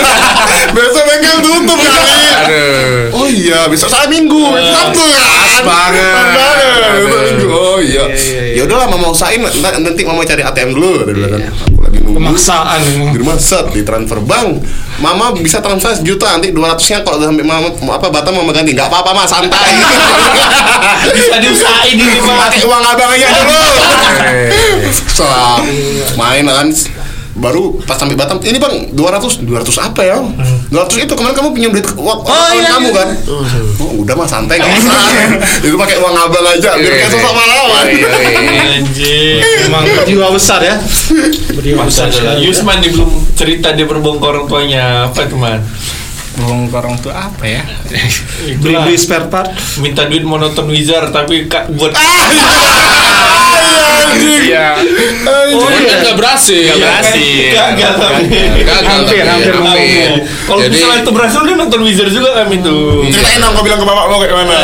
Speaker 1: besok bengkel tutup kali.
Speaker 2: Aduh.
Speaker 1: Oh iya, besok saya minggu, Sabtu kan. Pas
Speaker 2: banget.
Speaker 1: banget. Besok
Speaker 2: Aduh.
Speaker 1: minggu. Oh iya. Ya udahlah mama usahain ntar- nanti mama cari ATM dulu. Dia bilang kan, aku lagi nunggu.
Speaker 5: Pemaksaan.
Speaker 1: di rumah set di transfer bank mama bisa transfer sejuta nanti 200 nya kalau udah sampai mama apa batam mama ganti nggak apa-apa mas santai
Speaker 4: Bisa diusahain ini Mak
Speaker 1: pakai uang abang aja dulu setelah main kan baru pas sampai Batam ini bang 200 200 apa ya 200 itu kemarin kamu pinjam duit ke uang kawan
Speaker 5: iya,
Speaker 1: kamu kan oh, udah mas santai nggak usah itu pakai uang abang aja biar kayak sosok
Speaker 2: Iya, Oh,
Speaker 1: pahlawan
Speaker 4: Anjing
Speaker 5: Emang jiwa besar ya. Jiwa
Speaker 4: Masa
Speaker 5: besar
Speaker 4: adalah
Speaker 5: sekali.
Speaker 4: Yusman dia belum cerita dia berbongkar orang tuanya Apa teman?
Speaker 6: Burung korong tuh apa ya?
Speaker 5: Beli beli spare part.
Speaker 4: Minta duit mau nonton Wizard Tapi kak buat
Speaker 5: Ah!
Speaker 6: Iya.
Speaker 4: Oh,
Speaker 2: Cuman
Speaker 4: iya,
Speaker 2: kan nggak berhasil.
Speaker 5: Iya
Speaker 6: Nggak berhasil.
Speaker 4: Gagal tapi.
Speaker 2: Gagal, tapi.
Speaker 5: Hampir,
Speaker 2: Hampir.
Speaker 5: hampir, hampir.
Speaker 4: Kalau
Speaker 2: Jadi
Speaker 4: misalnya itu berhasil dia nonton Wizard juga kan itu.
Speaker 5: Iya.
Speaker 1: ceritain dong kau bilang ke bapak mau kayak mana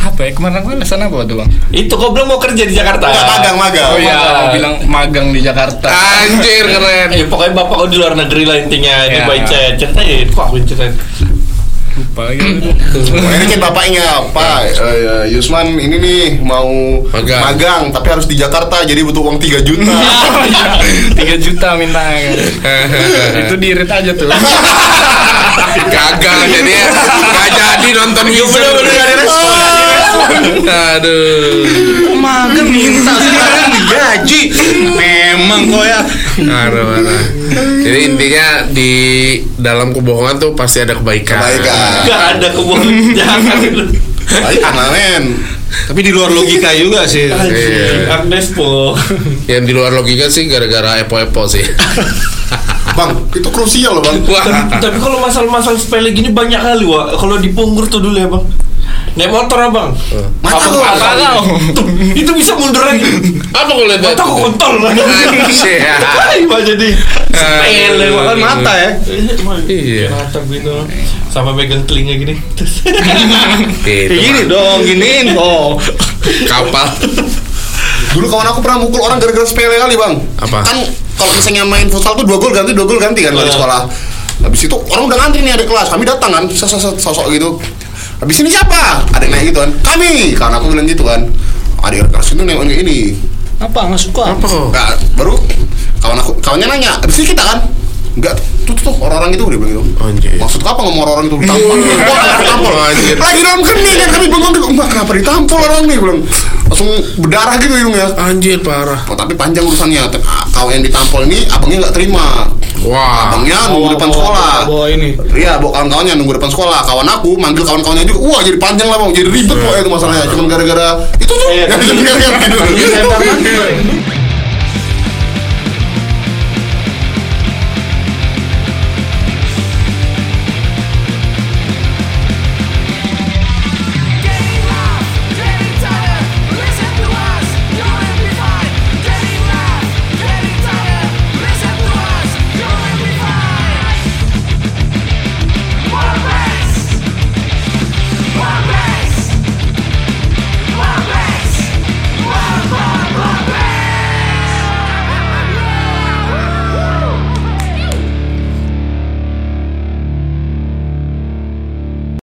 Speaker 6: Apa ya? Kemarin aku alasan apa tuh bang?
Speaker 4: Itu kau belum mau kerja di Jakarta.
Speaker 1: nggak magang magang
Speaker 6: Oh
Speaker 4: iya.
Speaker 6: iya, aku bilang magang di Jakarta.
Speaker 2: Anjir keren.
Speaker 5: Iya,
Speaker 4: Eh, pokoknya bapak kau di luar negeri lah intinya di
Speaker 5: gitu,
Speaker 6: Ya.
Speaker 4: Baicet. Ceritain, kok aku yang ceritain.
Speaker 6: Lupa apalagi waktu itu?
Speaker 1: Nah, ini kan bapaknya Pak eh, eh, Yusman ini nih mau
Speaker 2: Magang.
Speaker 1: magang. tapi harus di Jakarta jadi butuh uang 3 juta
Speaker 6: Oh, iya. tiga juta minta kan. itu diirit aja tuh
Speaker 2: Kagak jadi nggak jadi nonton Wizard.
Speaker 1: Iya, bener, nggak ada respon,
Speaker 2: Aduh.
Speaker 5: mager minta sekarang digaji memang kok ya
Speaker 2: Aduh, aduh. Jadi intinya di dalam kebohongan tuh pasti ada kebaikan.
Speaker 1: Kebaikan.
Speaker 4: Gak ada kebohongan Jangan
Speaker 1: baik men
Speaker 5: tapi di luar logika juga sih
Speaker 2: Iya.
Speaker 5: Kan
Speaker 4: Agnes po
Speaker 2: Yang di luar logika sih gara-gara epo-epo sih.
Speaker 1: bang itu krusial loh bang
Speaker 2: Wah.
Speaker 4: tapi, tapi kalau masalah-masalah sepele gini banyak kali wa kalau di Punggur tuh dulu ya bang naik motor abang
Speaker 1: Mata
Speaker 4: Abang-
Speaker 1: lo.
Speaker 4: abang-
Speaker 1: Mata lo.
Speaker 4: Tuh, itu bisa mundur lagi
Speaker 2: Apa kalau lihat?
Speaker 4: mata kok kontol lagi
Speaker 2: Anjir.
Speaker 4: Tai, Wak, jadi sepele Wak.
Speaker 5: kan mata ya
Speaker 2: Iya.
Speaker 4: mata gitu sama megang telinga gini
Speaker 2: Itu,
Speaker 5: Kayak gini
Speaker 2: Mak.
Speaker 5: dong giniin oh
Speaker 2: Kapal.
Speaker 1: dulu kawan aku pernah mukul orang gara-gara sepele kali bang
Speaker 2: Apa?
Speaker 1: kan kalau misalnya main futsal tuh dua gol ganti dua gol ganti kan kalau di
Speaker 4: Ah.
Speaker 1: sekolah habis itu orang udah ngantri nih ada kelas kami datang kan sosok sosok gitu habis ini siapa ada yang naik gitu kan kami karena aku bilang gitu kan ada yang kelas itu nengok kayak ini
Speaker 5: apa nggak suka
Speaker 2: Apa kok?
Speaker 1: Nggak, baru kawan aku kawannya nanya habis ini kita kan Enggak, tuh tuh, tuh, orang-orang itu udah bilang gitu
Speaker 2: Anjir.
Speaker 1: Maksud apa ngomong orang-orang itu ditampol Wah, kenapa ditampol
Speaker 2: Anjir.
Speaker 1: Lagi dalam kening kan, kami bengong gitu Mbak, kenapa ditampol orang nih? Bilang, langsung berdarah gitu hidungnya
Speaker 2: Anjir parah.
Speaker 1: Oh, tapi panjang urusannya. T- Kau yang ditampol ini abangnya nggak terima.
Speaker 2: Wah.
Speaker 1: Abangnya nunggu depan sekolah.
Speaker 5: bawa ini
Speaker 1: Iya, bawa kawan-kawannya nunggu depan sekolah. Kawan aku manggil kawan-kawannya juga. Wah, jadi panjang lah bang. Jadi ribet kok itu masalahnya. Cuman gara-gara itu tuh.
Speaker 4: Iya.
Speaker 1: Gara-gara gitu.
Speaker 4: Panggil saya, Bang.